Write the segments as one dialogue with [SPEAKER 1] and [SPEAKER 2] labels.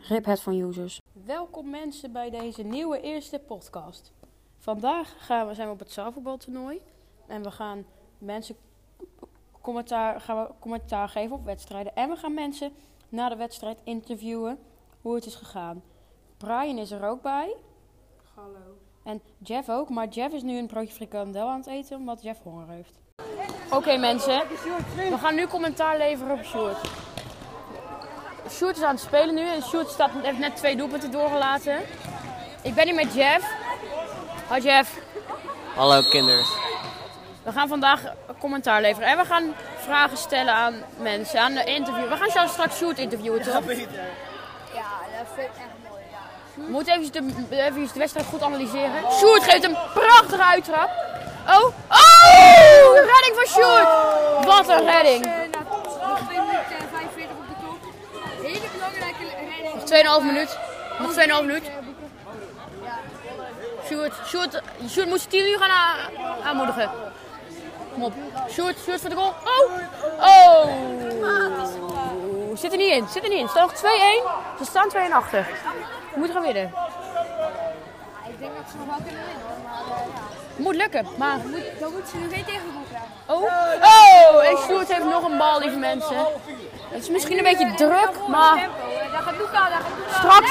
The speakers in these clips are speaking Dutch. [SPEAKER 1] Rip het van users.
[SPEAKER 2] Welkom mensen bij deze nieuwe eerste podcast. Vandaag gaan we, zijn we op het zaalvoetbaltoernooi. En we gaan mensen commentaar, gaan we commentaar geven op wedstrijden. En we gaan mensen na de wedstrijd interviewen hoe het is gegaan. Brian is er ook bij.
[SPEAKER 3] Hallo.
[SPEAKER 2] En Jeff ook. Maar Jeff is nu een broodje frikandel aan het eten omdat Jeff honger heeft. Oké mensen, we gaan nu commentaar leveren op Sjoerd. Sjoerd is aan het spelen nu en Sjoerd staat, heeft net twee doelpunten doorgelaten. Ik ben hier met Jeff. Hoi Jeff.
[SPEAKER 4] Hallo kinders.
[SPEAKER 2] We gaan vandaag commentaar leveren en we gaan vragen stellen aan mensen, aan de interview. We gaan zelfs straks Sjoerd interviewen toch?
[SPEAKER 3] Ja, dat vind ik echt mooi. Ja.
[SPEAKER 2] We moeten even de, even de wedstrijd goed analyseren. Sjoerd geeft een prachtige uittrap. Oh, oh! Redding van Sjoerd! Wat een redding!
[SPEAKER 3] Eh, na 2 minuten en 45 eh, op de klok. Hele belangrijke redding.
[SPEAKER 2] 2,5 minuut. Nog 2,5 minuut. Sjoerd, Sjoerd, Sjoerd moest het team nu gaan a- aanmoedigen. Kom op. Sjoerd, Sjoerd voor de goal. Oh! Oh! Zit er niet in, zit er niet in. Staan nog 2-1. Ze staan 2-1 achter. We moeten gaan winnen.
[SPEAKER 3] Ik denk dat ze nog wel kunnen winnen hoor, maar eh, ja.
[SPEAKER 2] Moet lukken, maar...
[SPEAKER 3] Moet, dan moeten ze nu geen tegengoal krijgen.
[SPEAKER 2] Oh, oh! En Sjoerd heeft nog een bal, lieve mensen. Het is misschien een
[SPEAKER 3] Eh,
[SPEAKER 2] beetje druk, maar
[SPEAKER 3] Daar gaat Luca, daar gaat Luca.
[SPEAKER 2] straks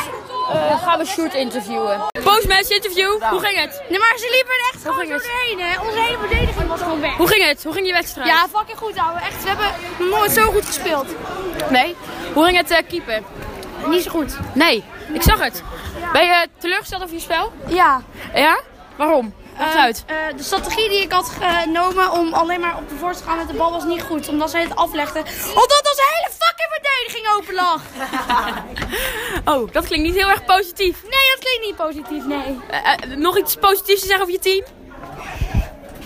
[SPEAKER 2] eh, gaan we Sjoerd interviewen. Boos mensen interview, hoe ging het?
[SPEAKER 3] Nee, maar ze liepen er echt
[SPEAKER 2] Hoe ging het?
[SPEAKER 3] doorheen hè. Onze hele verdediging was gewoon weg.
[SPEAKER 2] Hoe ging het? Hoe ging je wedstrijd?
[SPEAKER 3] Ja, fucking goed ouwe. Echt, we hebben nooit zo goed gespeeld.
[SPEAKER 2] Nee. Hoe ging het eh, keeper? Niet zo goed. Nee, ik zag het. Ben je teleurgesteld over je spel?
[SPEAKER 5] Ja,
[SPEAKER 2] Ja? Waarom? Leg
[SPEAKER 5] eh,
[SPEAKER 2] uit.
[SPEAKER 5] eh, de strategie die ik had genomen om alleen maar op de voorst te gaan met de bal was niet goed. Omdat zij het aflegden. Omdat onze hele fucking verdediging open lag.
[SPEAKER 2] Oh, dat klinkt niet heel erg positief.
[SPEAKER 5] Nee, dat klinkt niet positief, nee.
[SPEAKER 2] Eh, eh, nog iets positiefs te zeggen over je team?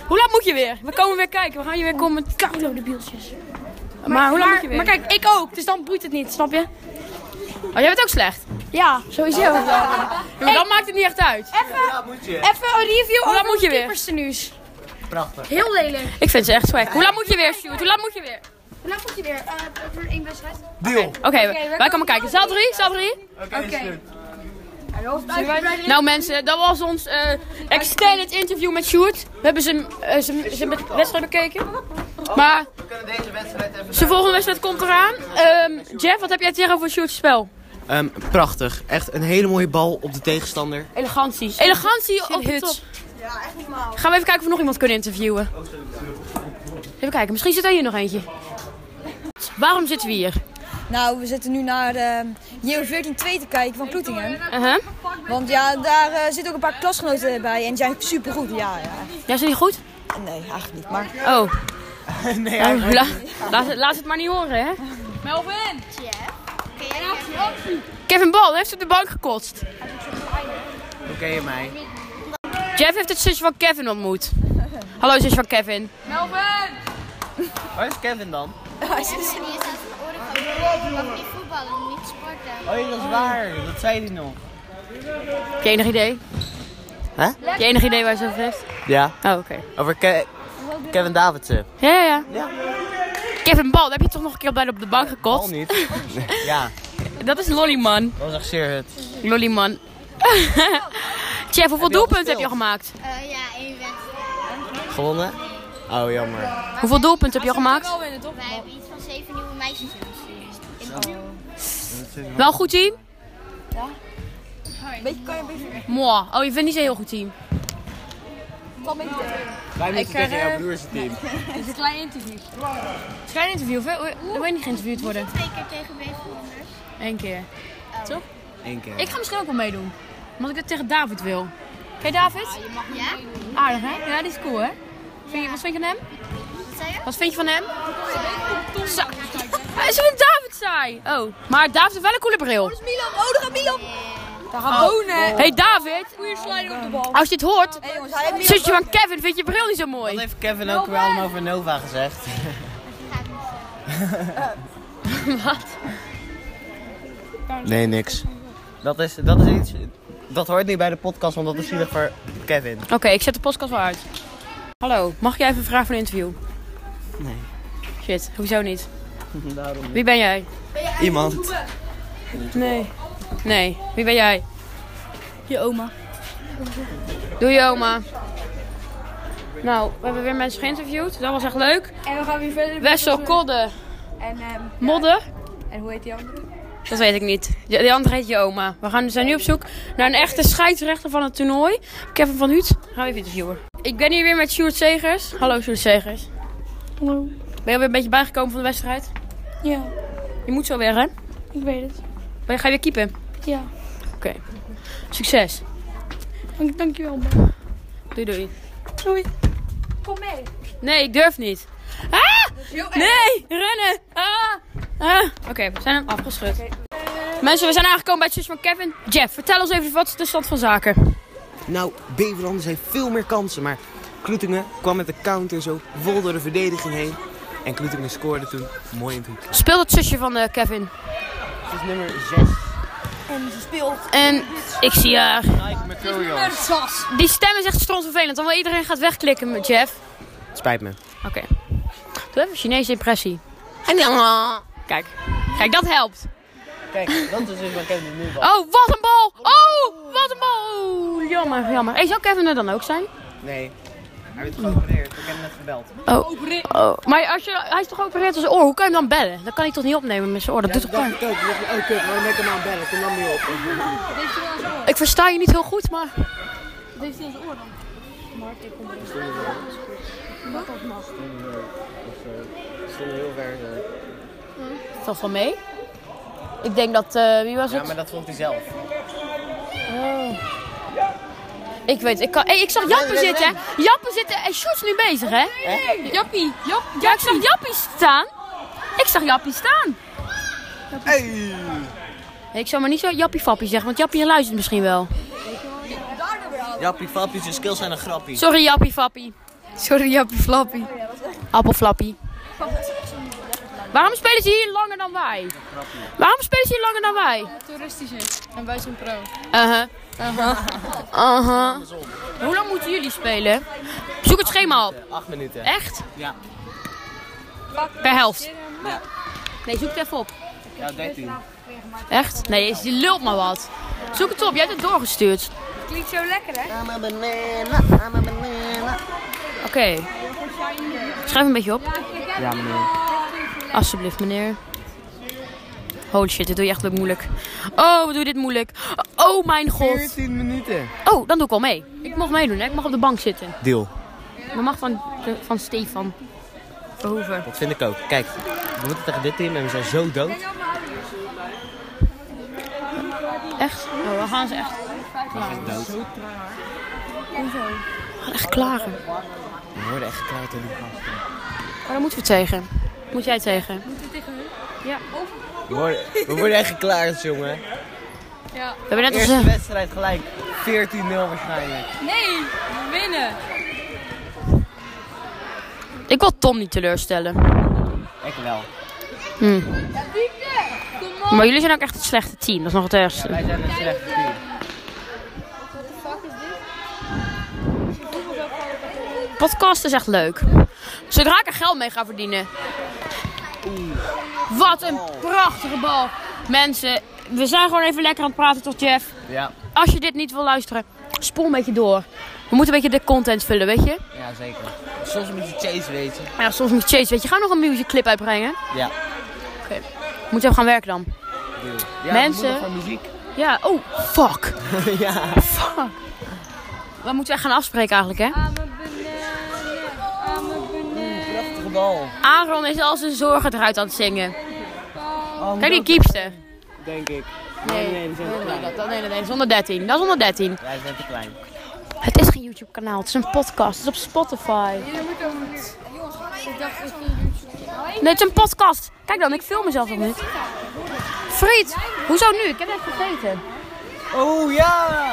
[SPEAKER 2] Hoe laat moet je weer? We komen weer kijken. We gaan je weer commentaar.
[SPEAKER 5] Hallo de bieltjes.
[SPEAKER 2] Maar, hoe laat moet je weer?
[SPEAKER 5] Maar kijk, ik ook. Dus dan boeit het niet, snap je?
[SPEAKER 2] oh, jij bent ook slecht.
[SPEAKER 5] Ja, sowieso.
[SPEAKER 2] Ja, maar dan maakt het niet echt uit.
[SPEAKER 4] Ja, moet je.
[SPEAKER 5] Even een review
[SPEAKER 2] Hoe laat
[SPEAKER 5] over
[SPEAKER 2] moet je
[SPEAKER 5] de
[SPEAKER 2] weer?
[SPEAKER 5] keeperstenues.
[SPEAKER 4] Prachtig.
[SPEAKER 5] Heel lelijk.
[SPEAKER 2] Ik vind ze echt swag. Hoe laat moet je weer, Sjoerd? Hoe laat moet je weer?
[SPEAKER 5] Hoe laat moet je weer? Eh, voor één wedstrijd?
[SPEAKER 4] Deal.
[SPEAKER 2] Oké, wij komen kijken. Zaal 3, zaal 3.
[SPEAKER 4] Oké, is goed.
[SPEAKER 2] Nou mensen, dat was ons eh, extended interview met Sjoerd. We hebben zijn, eh, zijn, zijn be- wedstrijd bekeken. Maar
[SPEAKER 4] We kunnen deze wedstrijd even...
[SPEAKER 2] zijn volgende wedstrijd komt eraan. Ehm, Jeff, wat heb jij te zeggen over Sjoerd's spel?
[SPEAKER 4] Ehm, prachtig. Echt een hele mooie bal op de tegenstander.
[SPEAKER 2] Elegantie. Elegantie op de top. Gaan we even kijken of we nog iemand kunnen interviewen. Even kijken, misschien zit er hier nog eentje. Waarom zitten we hier?
[SPEAKER 6] Nou, we zitten nu naar de JO 14 2 te kijken van Ploetingen.
[SPEAKER 2] Uh-huh.
[SPEAKER 6] Want ja, daar eh, zitten ook een paar klasgenoten bij en die zijn supergoed. Ja, ja.
[SPEAKER 2] Ja, zit je goed?
[SPEAKER 6] Nee, eigenlijk niet. Maar
[SPEAKER 2] Oh,
[SPEAKER 4] nee,
[SPEAKER 2] eh,
[SPEAKER 4] eigenlijk-
[SPEAKER 2] la- laat, het- laat het maar niet horen, hè? Kevin Bal heeft op de bank gekotst.
[SPEAKER 4] Hoe ken je mij?
[SPEAKER 2] Jeff heeft het zusje van Kevin ontmoet. Hallo zusje van Kevin.
[SPEAKER 4] Waar is Kevin dan?
[SPEAKER 7] Die is aan zijn oren van. Mag niet voetballen, niet sporten.
[SPEAKER 4] Oh, dat is waar. Dat zei hij nog.
[SPEAKER 2] Heb je enig idee?
[SPEAKER 4] Hè?
[SPEAKER 2] Heb je enig idee waar ze over heeft?
[SPEAKER 4] Ja,
[SPEAKER 2] Oh, oké.
[SPEAKER 4] over Ke- Kevin Davidsen.
[SPEAKER 2] Ja, ja, ja.
[SPEAKER 4] Ja.
[SPEAKER 2] Kevin Bal, daar heb je toch nog een keer bij op de bank
[SPEAKER 4] Al
[SPEAKER 2] gekotst?
[SPEAKER 4] niet. ja,
[SPEAKER 2] Dat is Lollyman.
[SPEAKER 4] dat was echt zeer het.
[SPEAKER 2] Lollyman. Jeff, hoeveel
[SPEAKER 4] al
[SPEAKER 2] doelpunten heb je
[SPEAKER 4] gespeeld?
[SPEAKER 2] al gemaakt?
[SPEAKER 7] Eh, ja, één wedstrijd.
[SPEAKER 4] Gewonnen? Oh, jammer.
[SPEAKER 2] Hoeveel doelpunten heb je al gemaakt?
[SPEAKER 7] Wij hebben iets van zeven nieuwe meisjes in ons team. In ons team.
[SPEAKER 2] Wel een goed team?
[SPEAKER 6] een beetje kan je een beetje...
[SPEAKER 2] Mooi. Oh, je vindt niet zo'n heel goed team.
[SPEAKER 6] Kan een beetje tegen.
[SPEAKER 4] Wij moeten tegen jouw broers team.
[SPEAKER 2] Het is geen interview, wil je niet geïnterviewd worden?
[SPEAKER 7] Twee keer tegen Beverlanders.
[SPEAKER 2] Eén keer.
[SPEAKER 4] Eén keer.
[SPEAKER 2] Ik ga misschien ook wel meedoen. Omdat ik het tegen David wil. Ken je David?
[SPEAKER 7] Ja?
[SPEAKER 2] Aardig hè? Ja, die is cool hè? Vind je, wat vind je van hem?
[SPEAKER 7] Wat zei je?
[SPEAKER 2] Wat vind je van hem? Sa- Hij is een David saai. Oh, maar David heeft wel een coole bril.
[SPEAKER 6] Milan, oh, daar gaat Milan! Daar gaat
[SPEAKER 2] Oh.
[SPEAKER 6] Bonen!
[SPEAKER 2] Hey David,
[SPEAKER 6] Goeie sliding op de bal.
[SPEAKER 2] als je dit hoort,
[SPEAKER 6] Hey jongens, hij heeft Milan.
[SPEAKER 2] zusje van Kevin vindt je bril niet zo
[SPEAKER 4] Wat
[SPEAKER 2] mooi.
[SPEAKER 4] heeft Kevin ook weer allemaal over Nova gezegd?
[SPEAKER 2] Wat?
[SPEAKER 4] Nee, niks. Dat is, dat is iets... Dat hoort niet bij de podcast, want dat is zielig voor Kevin.
[SPEAKER 2] Oké, ik zet de podcast wel uit. Hallo, mag jij even vragen voor een interview?
[SPEAKER 4] Nee.
[SPEAKER 2] Shit, hoezo niet?
[SPEAKER 4] Daarom.
[SPEAKER 2] Wie ben jij?
[SPEAKER 4] Iemand.
[SPEAKER 2] Nee. Nee. Wie ben jij?
[SPEAKER 5] Je oma.
[SPEAKER 2] Doe je oma. Nou, we hebben weer mensen geïnterviewd. Dat was echt leuk.
[SPEAKER 3] En we gaan weer verder.
[SPEAKER 2] Wessel Kodde.
[SPEAKER 3] En, ehm,
[SPEAKER 2] Modder.
[SPEAKER 3] en hoe heet die andere?
[SPEAKER 2] Dat weet ik niet. Ja, Die andere heet je oma. We gaan, we zijn nu op zoek naar een echte scheidsrechter van het toernooi. Kevin van Huut, gaan we even interviewen. Ik ben hier weer met Sjoerd Segers. Hallo Sjoerd Segers.
[SPEAKER 5] Hallo.
[SPEAKER 2] Ben je weer een beetje bijgekomen van de wedstrijd?
[SPEAKER 5] Ja,
[SPEAKER 2] Je moet zo weer, hè?
[SPEAKER 5] ik weet het.
[SPEAKER 2] Ben je, ga je weer keepen?
[SPEAKER 5] Ja.
[SPEAKER 2] Succes.
[SPEAKER 5] Dank, dankjewel.
[SPEAKER 2] Doei doei.
[SPEAKER 5] Doei.
[SPEAKER 3] Kom mee.
[SPEAKER 2] Nee, ik durf niet. Ah!
[SPEAKER 3] Heel erg.
[SPEAKER 2] Nee! Rennen! Ah! Ah! Oké, we zijn hem afgeschud. Mensen, we zijn aangekomen bij het zus van Kevin. Jeff, vertel ons even wat is de stand van zaken.
[SPEAKER 1] Nou, Beverland heeft veel meer kansen, maar Kloetingen kwam met de counter zo vol door de verdediging heen. En Kloetingen scoorde toen mooi in het hoekje.
[SPEAKER 2] Speelt het zusje van eh, Kevin.
[SPEAKER 1] Het is nummer 6.
[SPEAKER 2] En ik zie haar.
[SPEAKER 4] Materials.
[SPEAKER 2] Die stem is echt strontvervelend. Dan wil iedereen gaat wegklikken met Jeff.
[SPEAKER 1] Spijt me.
[SPEAKER 2] Oké. Doe even een Chinese impressie. Kijk. Kijk, dat helpt.
[SPEAKER 4] Kijk, dat is dus mijn kennis nu wel.
[SPEAKER 2] Oh, wat een bal! Oh, wat een bal! Oh, Jammer, jammer. Hey, zou Kevin er dan ook zijn?
[SPEAKER 4] Nee. Hij werd geopereerd. Ik heb hem net gebeld.
[SPEAKER 2] Oh, oh. Maar als je, hij is toch geopereerd aan zijn oor? Hoe kan je hem dan bellen? Dat kan hij toch niet opnemen met zijn oor? Dat doet toch pijn?
[SPEAKER 1] ik ook. Ik dacht, oh kut, maar dan ben ik hem aan het bellen. Toen nam hij op.
[SPEAKER 2] Ik versta je niet heel goed, maar...
[SPEAKER 4] Ik stond heel ver.
[SPEAKER 2] Valt wel mee. Ik denk dat... eh, wie was
[SPEAKER 4] Ja,
[SPEAKER 2] het?
[SPEAKER 4] maar dat vond hij zelf.
[SPEAKER 2] Ik weet ik kan... Hey, ik zag Jappen zitten. hè. Jappen zitten. En Sjoerd is nu bezig, hè? Jappie. Jap, ja, ik zag Jappie staan. Ik zag Jappie staan. Hey, ik zou maar niet zo Jappie Fappie zeggen, want Jappie luistert misschien wel.
[SPEAKER 4] Jappie, fappie, zijn skills zijn een grappie.
[SPEAKER 2] Sorry Jappie Fappie.
[SPEAKER 3] Sorry, Jappie Flappie.
[SPEAKER 2] Appelflappie. Waarom spelen ze hier langer dan wij? Waarom spelen ze hier langer dan wij?
[SPEAKER 3] Toeristisch is. En wij zijn pro.
[SPEAKER 2] Uh-huh. Uh-huh. Hoe lang moeten jullie spelen? Zoek het schema op.
[SPEAKER 4] Acht minuten.
[SPEAKER 2] Echt?
[SPEAKER 4] Ja.
[SPEAKER 2] Per helft. Nee, zoek het even op.
[SPEAKER 4] Ja, 13.
[SPEAKER 2] Echt? Nee, je lult maar wat. Zoek het op, jij hebt het doorgestuurd.
[SPEAKER 3] Klinkt zo lekker, hè?
[SPEAKER 4] I'm a banana, I'm a banana.
[SPEAKER 2] Oké. Schrijf een beetje op. Alsjeblieft, meneer. Holy shit, dit doe je echt weer moeilijk. Oh, we doen dit moeilijk. Oh mijn god.
[SPEAKER 1] 14 minuten.
[SPEAKER 2] Oh, dan doe ik wel mee. Ik mag meedoen, hè? Ik mag op de bank zitten.
[SPEAKER 1] Deal.
[SPEAKER 2] Dat mag van, van Stefan. Verhoeven.
[SPEAKER 1] Dat vind ik ook. Kijk, we moeten tegen dit team en we zijn zo dood.
[SPEAKER 2] Echt? Oh, we gaan ze echt. We gaan echt klagen.
[SPEAKER 1] We worden echt koud in die gasten.
[SPEAKER 2] Maar daar Oh, moeten we tegen. Moet jij tegen?
[SPEAKER 4] We worden, we worden echt geklaard, jongen.
[SPEAKER 2] We hebben net als. eh,
[SPEAKER 4] Eerste wedstrijd gelijk. 14-0 waarschijnlijk.
[SPEAKER 3] Nee, we winnen.
[SPEAKER 2] Ik wil Tom niet teleurstellen.
[SPEAKER 4] Ik wel.
[SPEAKER 2] Maar jullie zijn ook echt het slechte team. Dat is nog het ergste.
[SPEAKER 4] Wij zijn een slecht team.
[SPEAKER 2] podcast is echt leuk. Zodra ik er geld mee ga verdienen. Wat een prachtige bal. Mensen, we zijn gewoon even lekker aan het praten tot Jeff.
[SPEAKER 4] Ja,
[SPEAKER 2] Als je dit niet wil luisteren, spoel een beetje door. We moeten een beetje de content vullen, weet je?
[SPEAKER 4] ja zeker. Soms moet je chase weten.
[SPEAKER 2] Ja, soms moet je Chase, weet je, ga nog een music clip uitbrengen.
[SPEAKER 4] Ja.
[SPEAKER 2] Moet je gaan werken dan.
[SPEAKER 4] ja
[SPEAKER 2] Mensen.
[SPEAKER 4] we moeten Voor muziek.
[SPEAKER 2] Ja, oh, fuck.
[SPEAKER 4] ja.
[SPEAKER 2] Fuck. Wat moeten we gaan afspreken eigenlijk, hè?
[SPEAKER 4] Prachtige bal.
[SPEAKER 2] Aaron is al zijn zorgen eruit aan het zingen. Kijk die keepster.
[SPEAKER 4] Denk ik.
[SPEAKER 2] Oh, Nee, nee, nee, nee, nee, dat is 113. Dat is 113.
[SPEAKER 4] Wij zijn te klein.
[SPEAKER 2] Het is geen YouTube kanaal, het is een podcast. Het is op Spotify.
[SPEAKER 3] Jullie moeten om Jongens, ik dacht dat jullie...
[SPEAKER 2] Nee, het is een podcast. Kijk dan, ik film mezelf nog niet. Friet, hoezo nu? Ik heb het echt vergeten.
[SPEAKER 4] Oh ja!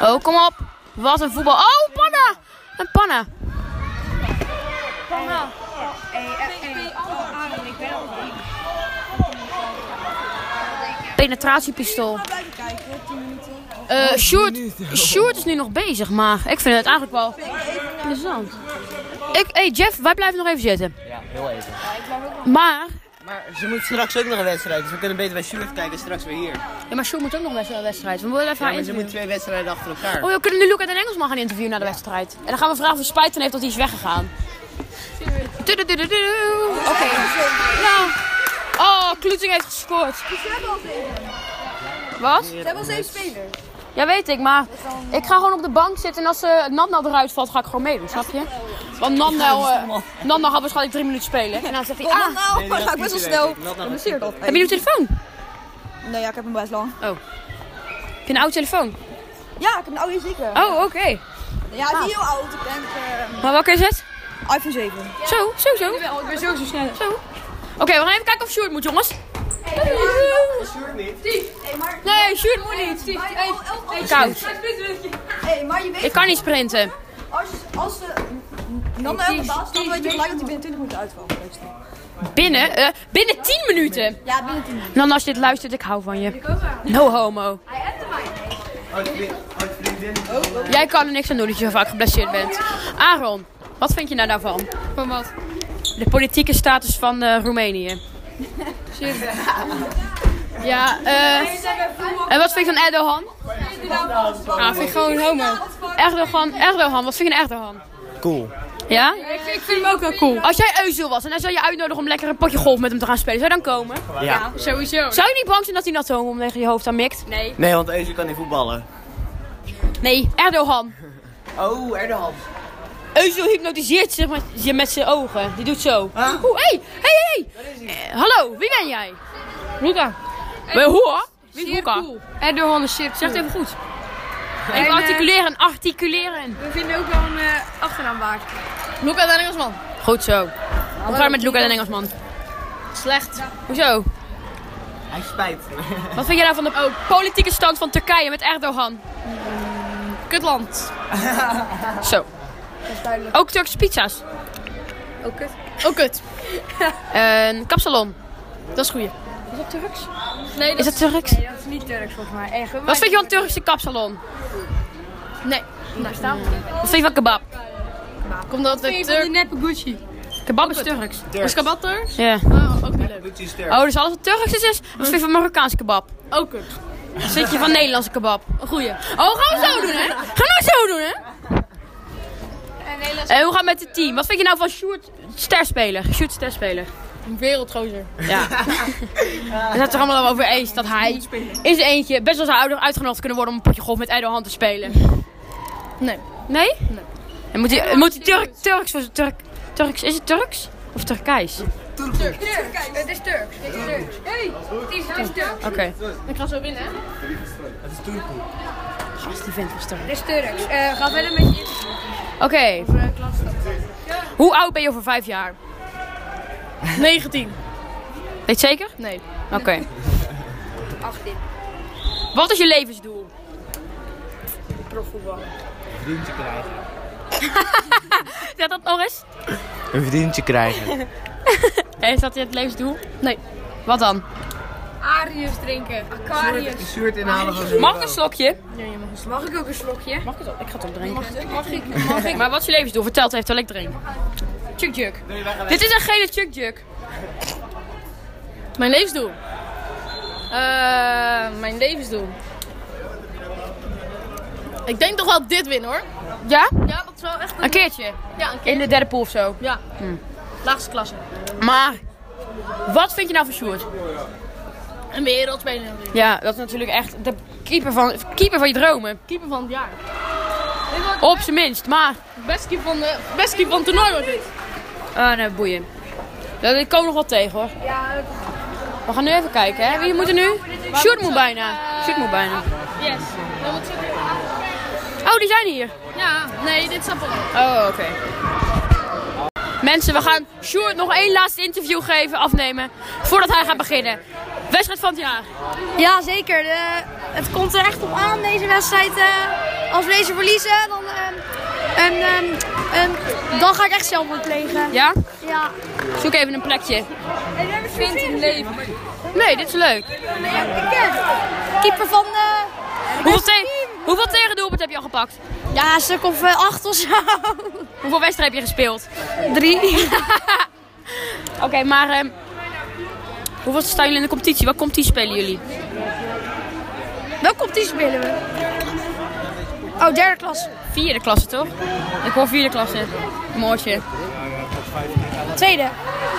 [SPEAKER 2] Oh, kom op. Wat een voetbal. Oh, panna! Een panna. Penetratiepistool. Eh Sjoerd, Sjoerd is nu nog bezig, maar ik vind het eigenlijk wel plezant. Ik, hey Jeff, wij blijven nog even zitten.
[SPEAKER 4] Ja, heel even.
[SPEAKER 2] Maar
[SPEAKER 4] Maar ze moet straks ook nog een wedstrijd, dus we kunnen beter bij Sjoerd kijken straks weer hier.
[SPEAKER 2] Ja, maar Sjoerd moet ook nog best wel een wedstrijd. We willen even
[SPEAKER 4] Ja,
[SPEAKER 2] haar
[SPEAKER 4] maar ze moet
[SPEAKER 2] interviewen.
[SPEAKER 4] twee wedstrijden achter elkaar.
[SPEAKER 2] Oh, ja, we kunnen nu Luca en Engelsman gaan interviewen na de wedstrijd. En dan gaan we vragen of hij spijt van heeft dat hij is weggegaan. Tududududu. Oké. Nou. Oh, Kloeting heeft gescoord. Wat?
[SPEAKER 6] Ze hebben al zeven spelers.
[SPEAKER 2] Ja, weet ik, maar ik ga gewoon op de bank zitten en als eh Nandel eruit valt, ga ik gewoon meedoen, snap je? Want Nandel, eh Nandel gaat waarschijnlijk drie minuten spelen. En dan zegt hij, ah,
[SPEAKER 6] Nou, nou, maar ga ik best wel snel. Dan blesseer dat.
[SPEAKER 2] heb je een telefoon?
[SPEAKER 6] Nee, ja, ik heb hem best lang.
[SPEAKER 2] Heb je een oude telefoon?
[SPEAKER 6] Ja, ik heb een oude zeker.
[SPEAKER 2] Oh, oké.
[SPEAKER 6] Ja, hij is niet heel oud. Ik denk eh,
[SPEAKER 2] Maar welke is het?
[SPEAKER 6] iPhone 7.
[SPEAKER 2] Zo, zo, zo. Ik ben sowieso snel. Zo. Oké, we gaan even kijken of Sjoerd moet, jongens. Nee, Sjoerd moet niet.
[SPEAKER 6] oh,
[SPEAKER 2] Koud.
[SPEAKER 6] Hey, maar je weet,
[SPEAKER 2] Ik kan niet sprinten.
[SPEAKER 6] als, als de dan de baas, dan weet je gelijk dat hij binnen 20 minuten uitvalt. meestal.
[SPEAKER 2] Binnen, eh, binnen 10 minuten.
[SPEAKER 6] Ja, binnen 10 minuten.
[SPEAKER 2] Dan als je dit luistert, ik hou van je. No homo. Jij kan er niks aan doen dat je zo vaak geblesseerd bent. Aaron, wat vind je nou daarvan?
[SPEAKER 3] Van wat?
[SPEAKER 2] De politieke status van eh, Roemenië. Ja, eh. en wat vind je van Erdogan? Ah, vind ik gewoon homo. Erdogan, Erdogan, wat vind je van Erdogan?
[SPEAKER 1] Cool.
[SPEAKER 2] Ja?
[SPEAKER 3] Ik vind, ik vind hem ook wel cool.
[SPEAKER 2] Als jij Euzel was en hij zou je uitnodigen om lekker een potje golf met hem te gaan spelen, zou je dan komen?
[SPEAKER 4] Ja.
[SPEAKER 3] Sowieso.
[SPEAKER 2] Zou je niet bang zijn dat hij nat homo om tegen je hoofd aan mikt?
[SPEAKER 3] Nee.
[SPEAKER 4] Nee, want Euze kan niet voetballen.
[SPEAKER 2] Nee, Erdogan.
[SPEAKER 4] Oh, Erdogan.
[SPEAKER 2] Euzel hypnotiseert zich met, je met zijn ogen. Die doet zo. Oeh, hé, hé, hé. Eh, Hallo, wie ben jij? Luca. Ben hoe hoor? Wie is
[SPEAKER 3] Zeer
[SPEAKER 2] Luca?
[SPEAKER 3] cool. Erdogan is shit.
[SPEAKER 2] Zeg het even goed. Even
[SPEAKER 3] eh,
[SPEAKER 2] articuleren, articuleren.
[SPEAKER 3] We vinden ook wel een eh, achternaam waard.
[SPEAKER 2] Luca de Engelsman. Goed zo. Hoe gaat het met Luca de Engelsman? Slecht. Hoezo?
[SPEAKER 4] Hij spijt.
[SPEAKER 2] Wat vind jij nou van de politieke stand van Turkije met Erdogan? Kutland. Zo. Ook Turkse pizza's.
[SPEAKER 3] Ook kut.
[SPEAKER 2] Ook kut. Een kapsalon. Dat is goed.
[SPEAKER 3] Is dat Turks? Nee, dat
[SPEAKER 2] Is dat Turks?
[SPEAKER 3] Nee, dat is niet Turks volgens mij. Echt,
[SPEAKER 2] Wat vind je van Turkse kapsalon?
[SPEAKER 3] Nee. Nou, staan we.
[SPEAKER 2] Wat vind je van kebab?
[SPEAKER 3] Komt dat de Turk... neppe Gucci.
[SPEAKER 2] Kebab is Turks.
[SPEAKER 4] Turks.
[SPEAKER 3] Kabatter?
[SPEAKER 2] Ja.
[SPEAKER 3] Oh, ook niet leuk.
[SPEAKER 4] Doet hij sterk.
[SPEAKER 2] Oh, dus alles wat Turks is, is. Wat vind je van Marokkaanse kebab?
[SPEAKER 3] Ook kut.
[SPEAKER 2] Wat vind je van Nederlandse kebab?
[SPEAKER 3] Een goeie.
[SPEAKER 2] Oh, gaan we zo doen, hè? Gaan we zo doen, hè? En hoe gaat het met het team? Wat vind je nou van Sjoerd Sterspeler? Sjoerd Sterspeler.
[SPEAKER 3] Een wereldgozer.
[SPEAKER 2] Ja. We zijn het er allemaal over eens dat hij in zijn eentje best wel zou ouder uitgenodigd kunnen worden om een potje golf met Erdogan te spelen.
[SPEAKER 3] Nee.
[SPEAKER 2] Nee? Nee. En moet hij, moet hij Turk, Turks voor zijn Turk, Turks, is het Turks? Of Turkijs? Oké.
[SPEAKER 3] Het is Turks. Het is Turks. Hey, het is dus Turks. Ik ga zo winnen, hè?
[SPEAKER 2] Gast, die vindt was Turk.
[SPEAKER 3] Het is Turks. Eh, ga verder met je eh,
[SPEAKER 2] Oké. Hoe oud ben je over vijf jaar?
[SPEAKER 3] 19.
[SPEAKER 2] Weet je het zeker?
[SPEAKER 3] Nee.
[SPEAKER 2] Oké.
[SPEAKER 3] 18.
[SPEAKER 2] Wat is je levensdoel?
[SPEAKER 3] Profvoetbal.
[SPEAKER 2] Zeg dat nog eens.
[SPEAKER 1] Een vriendje krijgen.
[SPEAKER 2] Hé, Is dat het levensdoel? Nee. Wat dan?
[SPEAKER 3] Arius drinken. Aquarius.
[SPEAKER 4] Sjoerd inhalen van
[SPEAKER 2] Mag ik een slokje?
[SPEAKER 3] Mag ik ook een slokje?
[SPEAKER 2] Mag ik het? Ik ga het opdrinken.
[SPEAKER 3] Mag ik? Mag ik?
[SPEAKER 2] Maar wat is je levensdoel? Vertel het even terwijl ik drink.
[SPEAKER 3] Chuk chuk.
[SPEAKER 2] Dit is een gele chuk chuk.
[SPEAKER 3] Mijn levensdoel. Eh, mijn levensdoel. Ik denk toch wel dit winnen hoor.
[SPEAKER 2] Ja?
[SPEAKER 3] Ja, dat is wel echt
[SPEAKER 2] Een keertje.
[SPEAKER 3] Ja, een keer.
[SPEAKER 2] In de derde pool of zo. Hm.
[SPEAKER 3] Ja. Laagste klasse.
[SPEAKER 2] Maar, wat vind je nou van Sjoerd?
[SPEAKER 3] Een wereldspeler natuurlijk.
[SPEAKER 2] Ja, dat is natuurlijk echt de keeper van, keeper van je dromen.
[SPEAKER 3] Keeper van het jaar.
[SPEAKER 2] Op zijn minst, maar...
[SPEAKER 3] Best keeper van, de, best keeper van het toernooi wordt dit.
[SPEAKER 2] Ah, nee, boeien. Dat ik kom nog wel tegen, hoor. We gaan nu even kijken, hè. Wie moet er nu? Sjoerd moet bijna. Sjoerd moet bijna.
[SPEAKER 3] Eh, Yes. Dat wordt zo
[SPEAKER 2] Oh, die zijn hier.
[SPEAKER 3] Ja, nee, dit snap ik wel.
[SPEAKER 2] Oh, oké. Mensen, we gaan Sjoerd nog één laatste interview geven, afnemen. Voordat hij gaat beginnen. Wedstrijd van het jaar.
[SPEAKER 5] Ja, zeker. De- het komt er echt op aan, deze wedstrijd. eh. als we deze verliezen, dan, ehm, en, ehm, en dan ga ik echt zelfmoord plegen.
[SPEAKER 2] Ja?
[SPEAKER 5] Ja.
[SPEAKER 2] Zoek even een plekje.
[SPEAKER 3] Vind het leven.
[SPEAKER 2] Nee, dit is leuk.
[SPEAKER 5] Keeper van... eh,
[SPEAKER 2] Hoeveel, te hoeveel tegendoelpunten heb je al gepakt?
[SPEAKER 5] ja, een stuk of eh, acht of zo.
[SPEAKER 2] Hoeveel wedstrijden heb je gespeeld?
[SPEAKER 5] Drie.
[SPEAKER 2] Oké, maar ehm, Hoeveel staan jullie in de competitie? Wat competitie spelen jullie?
[SPEAKER 5] Welke competitie spelen we? Oh, derde klas.
[SPEAKER 2] Vierde klasse, toch? Ik hoor vierde klasse. Mooitje.
[SPEAKER 5] Tweede.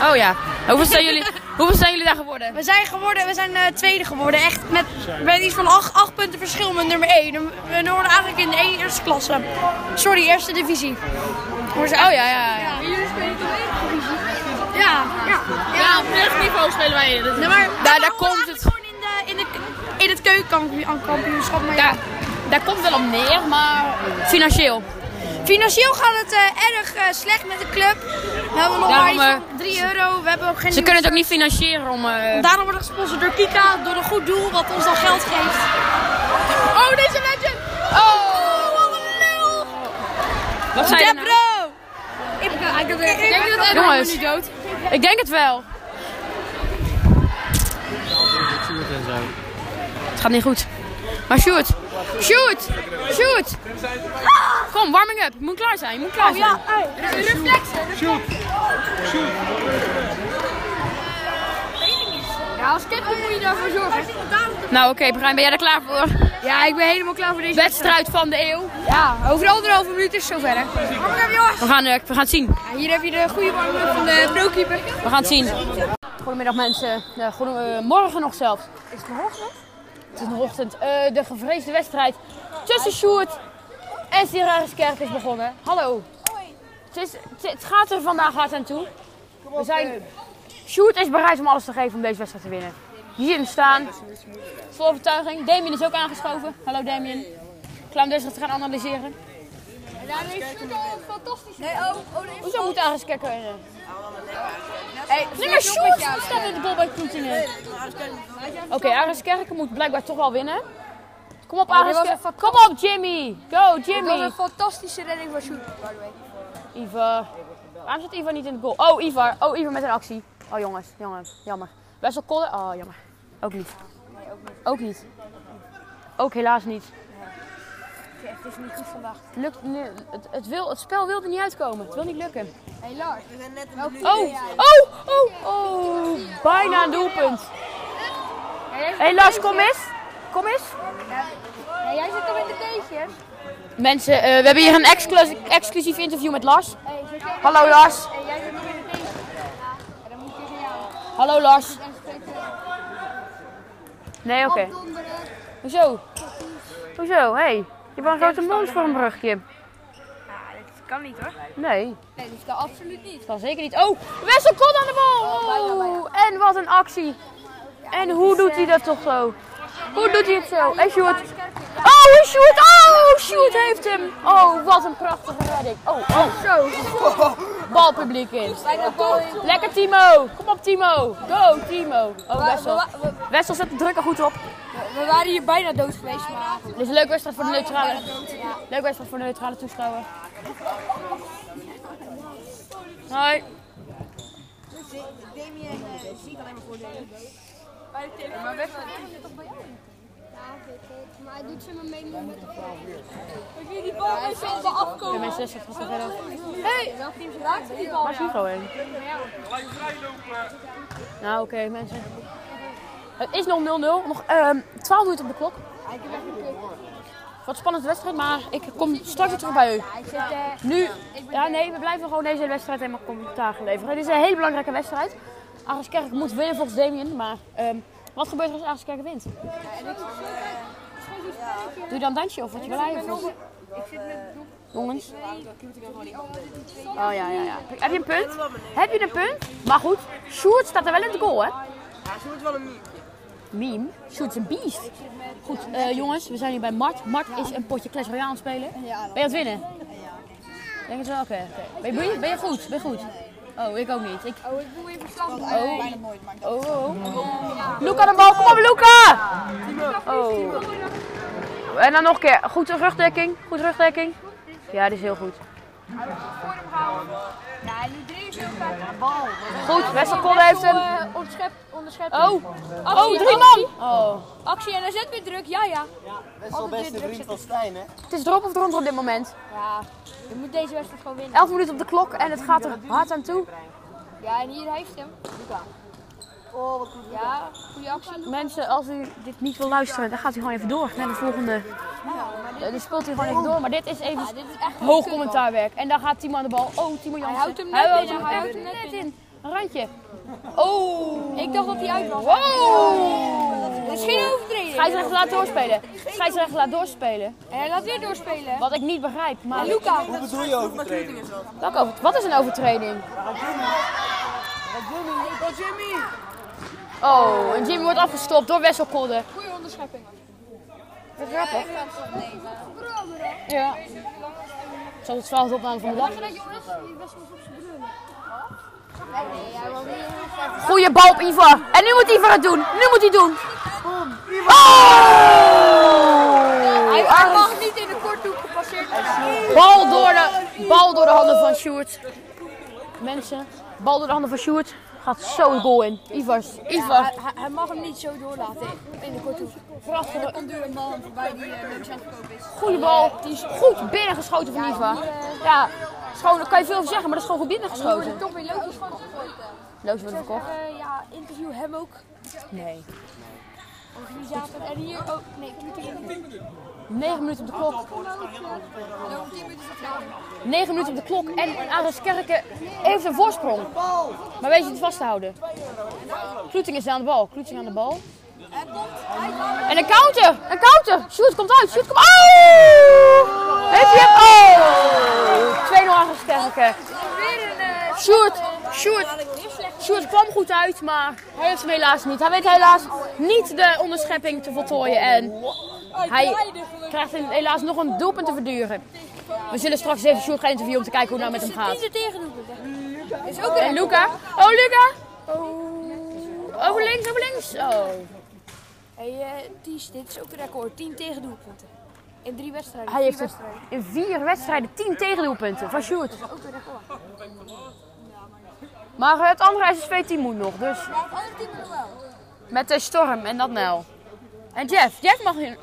[SPEAKER 2] Oh ja. Hoeveel zijn jullie, hoeveel zijn jullie daar geworden?
[SPEAKER 5] We zijn, geworden, we zijn eh, tweede geworden. Echt met, met iets van acht, acht punten verschil met nummer één. We horen eigenlijk in de e-, eerste klasse. Sorry, eerste divisie.
[SPEAKER 2] Oh ja, ja, ja.
[SPEAKER 5] Ja, ja.
[SPEAKER 2] Ja, op niveau spelen wij.
[SPEAKER 5] Nee, maar,
[SPEAKER 2] daar
[SPEAKER 5] we horen
[SPEAKER 2] komt het.
[SPEAKER 5] eigenlijk gewoon in, de, in, de, in het keukenkampioenschap. Maar ja.
[SPEAKER 2] Daar, daar komt het wel op neer, maar financieel.
[SPEAKER 5] Financieel gaat het eh, erg eh, slecht met de club. We hebben nog maar
[SPEAKER 2] Daarom, eh,
[SPEAKER 5] iets van 3 euro. We hebben ook geen
[SPEAKER 2] Ze kunnen het ook niet financieren om... eh,
[SPEAKER 5] Daarom worden we gesponsord door Kika, door een goed doel wat ons dan geld geeft. Oh, deze legend! Oh, wat een lul!
[SPEAKER 2] wat zijn er nou?
[SPEAKER 5] Debro! Ik, ik, ik, ik,
[SPEAKER 2] Jongens. Ik denk het wel. Het gaat niet goed. Maar shoot. Shoot. Shoot. Kom, warming up. Je moet klaar zijn. Je moet klaar
[SPEAKER 5] Oh,
[SPEAKER 2] zijn. ja. Nou oké, Brian, ben jij er klaar voor?
[SPEAKER 5] Ja, ik ben helemaal klaar voor deze
[SPEAKER 2] Wedstrijd van de eeuw.
[SPEAKER 5] Ja, over anderhalve minuut is het zover. Hè.
[SPEAKER 2] We gaan, eh, we gaan het zien.
[SPEAKER 5] Ja, hier heb je de goede warming van de brokeeper.
[SPEAKER 2] We gaan het zien. Goedemiddag mensen. Eh, goede- eh, morgen nog zelfs. Is het nog ochtend? Het is nog ochtend. Eh, de gevreesde wedstrijd tussen Sjoerd en Sirariskerk is begonnen. Hallo. Het, is, het, het gaat er vandaag hard aan toe. We zijn, Sjoerd is bereid om alles te geven om deze wedstrijd te winnen. Hierin staan. Vol overtuiging. Damien is ook aangeschoven. Hallo Damien. Klaar om deze te gaan analyseren.
[SPEAKER 6] oh,
[SPEAKER 2] Hoezo moet Ariskerk winnen? Hey, nee, maar Sjoerd staat in de goal bij Kroetingen. Oké, Aris Kerken moet blijkbaar toch wel winnen. Kom op, Aris
[SPEAKER 5] Oh, was
[SPEAKER 2] Kerken.
[SPEAKER 5] een
[SPEAKER 2] Kom op, Jimmy. Go,
[SPEAKER 5] Dat was
[SPEAKER 2] Jimmy.
[SPEAKER 5] een fantastische redding van Sjoerd, by the way.
[SPEAKER 2] Ivar. Waarom zit Ivar niet in de goal? Oh, Ivar. Oh, Ivar met een actie. Oh, jongens. Jongens. Jammer. Wessel Kolder. Oh, jammer. Ook niet. ook niet. Ook helaas niet.
[SPEAKER 5] Het is niet goed vandaag.
[SPEAKER 2] Lukt, nee, het, het, wil, het spel wilde niet uitkomen. Het wil niet lukken.
[SPEAKER 5] Hey Lars, we zijn net een minuut.
[SPEAKER 2] Oh, oh, oh, oh. Bijna een doelpunt. Hé Lars, kom eens. Kom eens.
[SPEAKER 5] jij zit al in de keetje.
[SPEAKER 2] Mensen, eh, we hebben hier een exclus- exclusief interview met Lars. Hallo Lars.
[SPEAKER 5] jij zit nog in de keetje. Ja, dan moet je tegen jou.
[SPEAKER 2] Hallo Lars. Nee, oké. Hoezo? Hoezo? Hé, hey, je hebt wel een grote mond voor een brugje. Ah,
[SPEAKER 5] Dat kan niet hoor.
[SPEAKER 2] Nee,
[SPEAKER 5] Nee, dat kan absoluut niet.
[SPEAKER 2] dat kan zeker niet. Oh, Wessel komt aan de bal! Oh, en wat een actie. En hoe doet hij dat toch zo? Hoe doet hij het zo? En Sjoerd. Oh, en Sjoerd! Oh, Sjoerd heeft hem! Oh, wat een prachtige redding. Oh, oh.
[SPEAKER 5] Zo.
[SPEAKER 2] Balpubliek in. Lekker Timo. Kom op Timo. Go Timo. Oh Wessel.
[SPEAKER 5] wa- we-
[SPEAKER 2] Wessel zet de druk er goed op.
[SPEAKER 5] We waren hier bijna dood geweest, maar...
[SPEAKER 2] Dit is een leuke wedstrijd voor de neutrale. Leuke wedstrijd voor de neutrale toeschouwer. Hoi.
[SPEAKER 7] Maar hij doet ze maar mee met de bal.
[SPEAKER 2] De mensen dus is het verder. Hé, welk team raakt die bal? Waar is Hugo heen? Nou oké mensen. Het is nog 0-0. Nog ehm 12 minuten op de klok. Wat een spannende wedstrijd, maar ik kom straks weer terug bij u. Nu, ja nee, we blijven gewoon deze hele wedstrijd helemaal commentaar gaan leveren. Dit is een hele belangrijke wedstrijd. Ariskerk moet winnen volgens Damien, maar ehm, wat gebeurt er als Ariskerk wint? Doe je dan een dansje of word je blij? Of wat? Jongens. Oh ja, ja, ja. Heb je een punt? Heb je een punt? Maar goed, Sjoerd staat er wel in het goal, hè? Ja, Sjoerd wel een meme. Meme? Sjoerd is een beest. Goed, eh, jongens, we zijn hier bij Mart. Mart is een potje Clash Royale aan het spelen. Ben je aan het winnen? Denk het wel, oké. oké. Ben, je- ben je, ben je goed? Ben je goed? Oh, ik ook niet. Ik... Oh, ik doe even slag. Oh, oh, oh. Luca de bal, kom op Luca! Oh. En dan nog een keer. Goed rugdekking, goed rugdekking. Ja, dit is heel goed. Goed, Wessel Kolder heeft hem.
[SPEAKER 5] eh,
[SPEAKER 2] Oh, oh, drie man. Oh.
[SPEAKER 5] Actie en dan zet weer druk, ja ja.
[SPEAKER 4] Wessel, beste vriend van Stijn, hè?
[SPEAKER 2] Het is erop of eronder op dit moment.
[SPEAKER 5] Ja, je moet deze wedstrijd gewoon winnen.
[SPEAKER 2] 11 minuten op de klok en het gaat er hard aan toe.
[SPEAKER 5] Ja, en hier heeft hem.
[SPEAKER 2] Mensen, als u dit niet wil luisteren, dan gaat u gewoon even door naar de volgende. Eh, Dan speelt u gewoon even door. Maar dit is even hoog commentaarwerk. En dan gaat Timo aan de bal. Oh, Timo Jansen. Hij houdt hem net, in, hij houdt hem net in. Een randje. Oh. Ik dacht dat hij uit was. Wow.
[SPEAKER 5] Dat is geen overtreding.
[SPEAKER 2] Scheidsrechter laat doorspelen. Scheidsrechter laat doorspelen.
[SPEAKER 5] En hij laat weer doorspelen.
[SPEAKER 2] Wat ik niet begrijp. Maar
[SPEAKER 5] Luca.
[SPEAKER 8] Wat bedoel je overtreding?
[SPEAKER 2] Welke over- wat is een overtreding? Oh, en Jimmy wordt afgestopt door Wessel Kolder.
[SPEAKER 5] Goeie onderschepping.
[SPEAKER 2] Wat grappig. Ja. Zoals het veld opname van de dag. Goeie bal op Ivar. En nu moet Ivar het doen. Nu moet hij het doen. Oh!
[SPEAKER 5] Hij hij mag niet in de korthoek gepasseerd worden.
[SPEAKER 2] Bal door de, bal door de handen van Sjoerd. Mensen, bal door de handen van Sjoerd. Gaat zo de goal in. Ivar, Ivar.
[SPEAKER 5] Hij, hij mag hem niet zo doorlaten in de korthoek.
[SPEAKER 2] Prachtige-
[SPEAKER 5] Er komt nu een man voorbij die eh, niks aan het koop is.
[SPEAKER 2] Goede bal. Goed binnengeschoten van Ivar. Ja, is gewoon, daar kan je veel over zeggen, maar dat is gewoon goed binnengeschoten.
[SPEAKER 5] Toch weer leuk van gegooid.
[SPEAKER 2] Loos wordt verkocht.
[SPEAKER 5] Eh, ja, interview hem ook.
[SPEAKER 2] Nee.
[SPEAKER 5] Organisator. En hier ook. Nee, Twitter.
[SPEAKER 2] 9 minuten op de klok. 9 minuten op de klok en Aris Kerken heeft een voorsprong. Maar weet je het vast te houden. Kloeting is aan de bal. Kloeting aan de bal. En een counter! Een counter! Shoot komt uit! Shoot komt Oh! Heeft hij hem? Oh! 2-0 Aris Kerken.
[SPEAKER 5] Weer een. eh,
[SPEAKER 2] Sjoerd, Sjoerd, Sjoerd kwam goed uit, maar hij heeft hem helaas niet. Hij weet helaas niet de onderschepping te voltooien. En hij krijgt een- helaas nog een doelpunt te verduren. We zullen straks even Sjoerd gaan interviewen om te kijken hoe het nou met hem gaat. En Luca. Oh, Luca. Oh. Over links, over links. Oh.
[SPEAKER 5] Hey, eh Ties, dit is ook een record. 10 tegendoelpunten. In drie wedstrijden.
[SPEAKER 2] Hij
[SPEAKER 5] vier
[SPEAKER 2] heeft er
[SPEAKER 5] wedstrijden.
[SPEAKER 2] in vier wedstrijden tien tegendoelpunten van Sjoerd. Maar eh, het andere SSV-team moet nog, dus... Met de storm en dat nou. En Jeff, Jeff mag hier...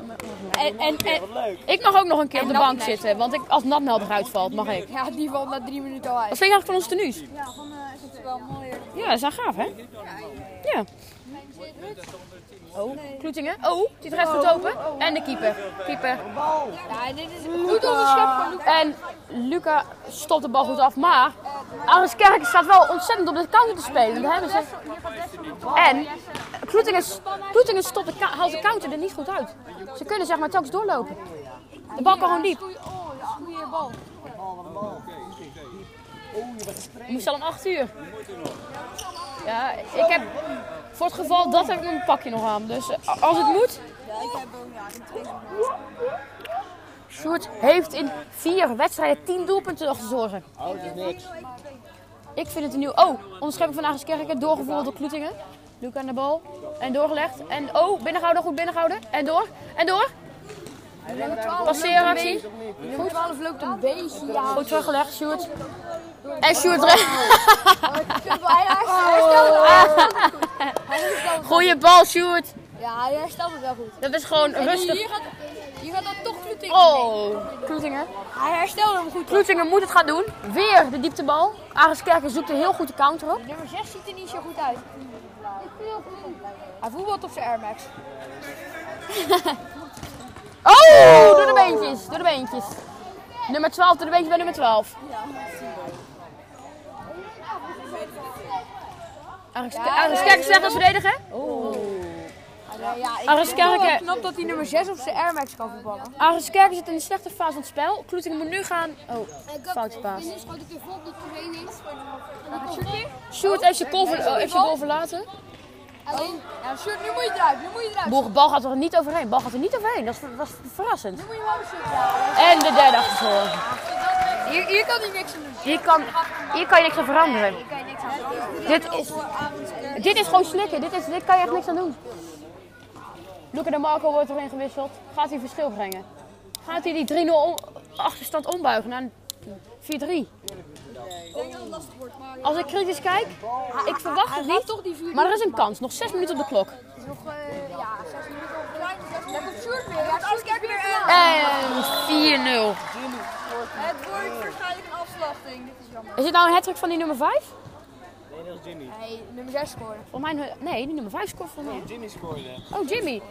[SPEAKER 2] En, en, en- ik mag ook nog een keer op de bank zitten, want ik, als Natnel eruit valt, mag ik.
[SPEAKER 5] Ja, die valt na drie minuten al uit.
[SPEAKER 2] Wat vind je eigenlijk van onze tenues?
[SPEAKER 5] Ja, van eh is het wel mooier.
[SPEAKER 2] Ja, dat is wel gaaf, hè? Ja. Oh, Kloetingen. Oh, die rest goed open. En de keeper. Keeper.
[SPEAKER 5] Ja, en dit is een goed eh, onderschept van Luca.
[SPEAKER 2] En Luca stopt de bal goed af, maar Aris Kerken staat wel ontzettend op de counter te spelen. Dat hebben ze. En Kloetingen, Kloetingen stopt de, cou- haalt de counter er niet goed uit. Ze kunnen zeg maar telkens doorlopen. De bal kan gewoon diep.
[SPEAKER 5] Oh, dat is een goede bal.
[SPEAKER 2] We moest al om 8 uur. Ja, ik heb voor het geval dat heb ik mijn pakje nog aan. Dus eh, als het moet. Sjoerd heeft in vier wedstrijden 10 doelpunten nog te zorgen. Ik vind het een nieuw. Oh, onderschepping van Agnes Kerken doorgevoerd door Kloetingen. Luca aan de bal. En doorgelegd. En oh, binnengehouden, goed binnengehouden. En door. En door. Passeeractie.
[SPEAKER 5] Nummer 12 loopt een beetje. Ja,
[SPEAKER 2] Goed teruggelegd, Sjoerd. En Sjoerd recht.
[SPEAKER 5] Oh. hij herstelde
[SPEAKER 2] Goeie bal, Sjoerd.
[SPEAKER 5] Ja, hij herstelde wel goed.
[SPEAKER 2] Dat is gewoon
[SPEAKER 5] En
[SPEAKER 2] rustig.
[SPEAKER 5] Hier gaat, hier gaat dat toch Luting.
[SPEAKER 2] Oh, Kloetingen.
[SPEAKER 5] Hij herstelde hem goed.
[SPEAKER 2] Kloetingen moet het gaan doen. Weer de dieptebal. Aris Kerken zoekt een heel goede counter op.
[SPEAKER 5] Nummer 6 ziet er niet zo goed uit. Hij voetbalt op zijn Air Max.
[SPEAKER 2] Oh, door de beentjes, door de beentjes. Nummer 12, door de beentjes bij nummer 12. Aris Ke- Aris Kerken zegt als verdedigen. Oh.
[SPEAKER 5] Ja, ja, ik
[SPEAKER 2] Aris
[SPEAKER 5] vind het wel
[SPEAKER 2] Kerken.
[SPEAKER 5] knap dat hij nummer 6 op zijn Air Max kan voetballen.
[SPEAKER 2] Aris Kerken zit in een slechte fase van het spel. Kloetingen moet nu gaan. Oh, foutje paas.
[SPEAKER 9] schoot ik vol op de training.
[SPEAKER 2] Sjoerd heeft zijn goal ver- oh, heeft zijn goal verlaten.
[SPEAKER 9] Alleen,
[SPEAKER 5] Oh. Ja, Sjoerd, nu moet je eruit. Nu moet je eruit.
[SPEAKER 2] Boer, bal gaat er niet overheen. Bal gaat er niet overheen. Dat is ver- was verrassend.
[SPEAKER 5] Nu moet je hem Sjoerd. Ja,
[SPEAKER 2] En de derde achtervolging.
[SPEAKER 5] hier, hier kan hij niks aan doen.
[SPEAKER 2] Hier kan, hier kan je niks aan veranderen.
[SPEAKER 5] Hier kan je niks aan doen.
[SPEAKER 2] Dit is, dit is gewoon slikken. Dit, is, dit kan je echt niks aan doen. Luca de Marco wordt erin gewisseld. Gaat hij verschil brengen? Gaat hij die 3-0 om- achterstand ombuigen naar een 4-3? Als ik kritisch kijk, ik verwacht het niet.
[SPEAKER 5] toch die vier
[SPEAKER 2] Maar er is een kans. Nog 6 minuten op de klok.
[SPEAKER 5] Nog, eh, ja, 6 minuten of klein. Daar komt Sjoerd weer. Ja, Sjoerd weer aan.
[SPEAKER 2] En 4-0.
[SPEAKER 5] Het wordt waarschijnlijk een afslachting. Dit is jammer.
[SPEAKER 2] Is dit nou een hattrick van die nummer 5?
[SPEAKER 1] was Jimmy.
[SPEAKER 5] Nee, nummer 6 scoren.
[SPEAKER 2] Volgens mij, nee, die nummer 5 scoort voor mij.
[SPEAKER 1] Jimmy scoorde.
[SPEAKER 2] Oh, Jimmy.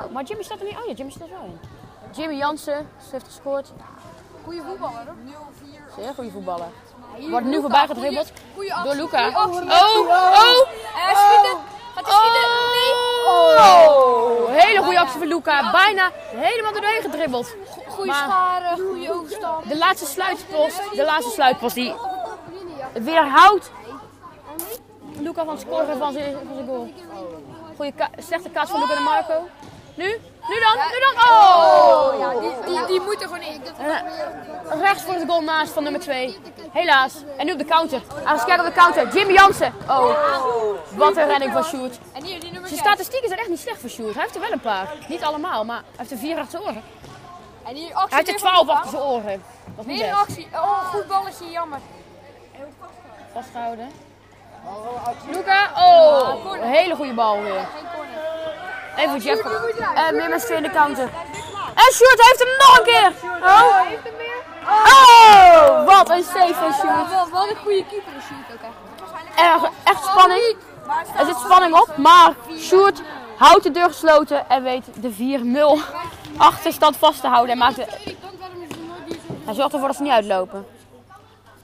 [SPEAKER 2] Oh, maar Jimmy staat er niet. Oh ja, Jimmy staat er wel in. Jimmy Jansen, ze heeft gescoord.
[SPEAKER 5] Goeie voetballer hoor.
[SPEAKER 2] Zeer goede voetballer. Wordt nu voorbij gedribbeld
[SPEAKER 5] Goeie actie.
[SPEAKER 2] door Luca.
[SPEAKER 5] Goeie
[SPEAKER 2] Oh,
[SPEAKER 5] actie.
[SPEAKER 2] oh, oh.
[SPEAKER 5] Eh, schieten. Gaat hij schieten?
[SPEAKER 2] Oh, hele goede actie van Luca. Bijna helemaal doorheen gedribbeld.
[SPEAKER 5] Goeie
[SPEAKER 2] Oh. Maar-
[SPEAKER 5] scharen, goeie oogstap.
[SPEAKER 2] De laatste sluitpost, de laatste sluitpost die weerhoudt Luca van het scoren van zijn van zijn goal. Goeie ka- slechte kaas van Luca de Marco. Nu, nu dan, nu dan. Oh!
[SPEAKER 5] Die, die moet er gewoon in.
[SPEAKER 2] Rechts voor de goal naast van nummer 2. Helaas. En nu op de counter. Aangeskerkt op de counter. Jimmy Jansen. Oh, wat een redding van Sjoerd.
[SPEAKER 5] En hier, die nummer
[SPEAKER 2] Zijn
[SPEAKER 5] 6.
[SPEAKER 2] statistieken zijn echt niet slecht voor Sjoerd. Hij heeft er wel een paar. Niet allemaal, maar hij heeft er vier achter zijn oren.
[SPEAKER 5] En hier actie.
[SPEAKER 2] Hij heeft er
[SPEAKER 5] weer van
[SPEAKER 2] 12
[SPEAKER 5] Luca.
[SPEAKER 2] achter zijn oren. Dat is niet
[SPEAKER 5] Weer een
[SPEAKER 2] best.
[SPEAKER 5] actie. Oh, goed balletje, jammer.
[SPEAKER 2] Vasthouden. Luca, oh, een hele goede bal weer.
[SPEAKER 5] Geen corner.
[SPEAKER 2] Even voor Eh, Jeff. En weer met de counter. En Sjoerd heeft hem nog een keer. Oh, oh wat een save van Sjoerd.
[SPEAKER 5] Wel, wel een goede keeper is Sjoerd ook echt.
[SPEAKER 2] Erg, echt spanning. Er zit spanning op, maar Sjoerd houdt de deur gesloten en weet de 4-0 achterstand vast te houden. En maakt de... Hij zorgt ervoor dat ze niet uitlopen.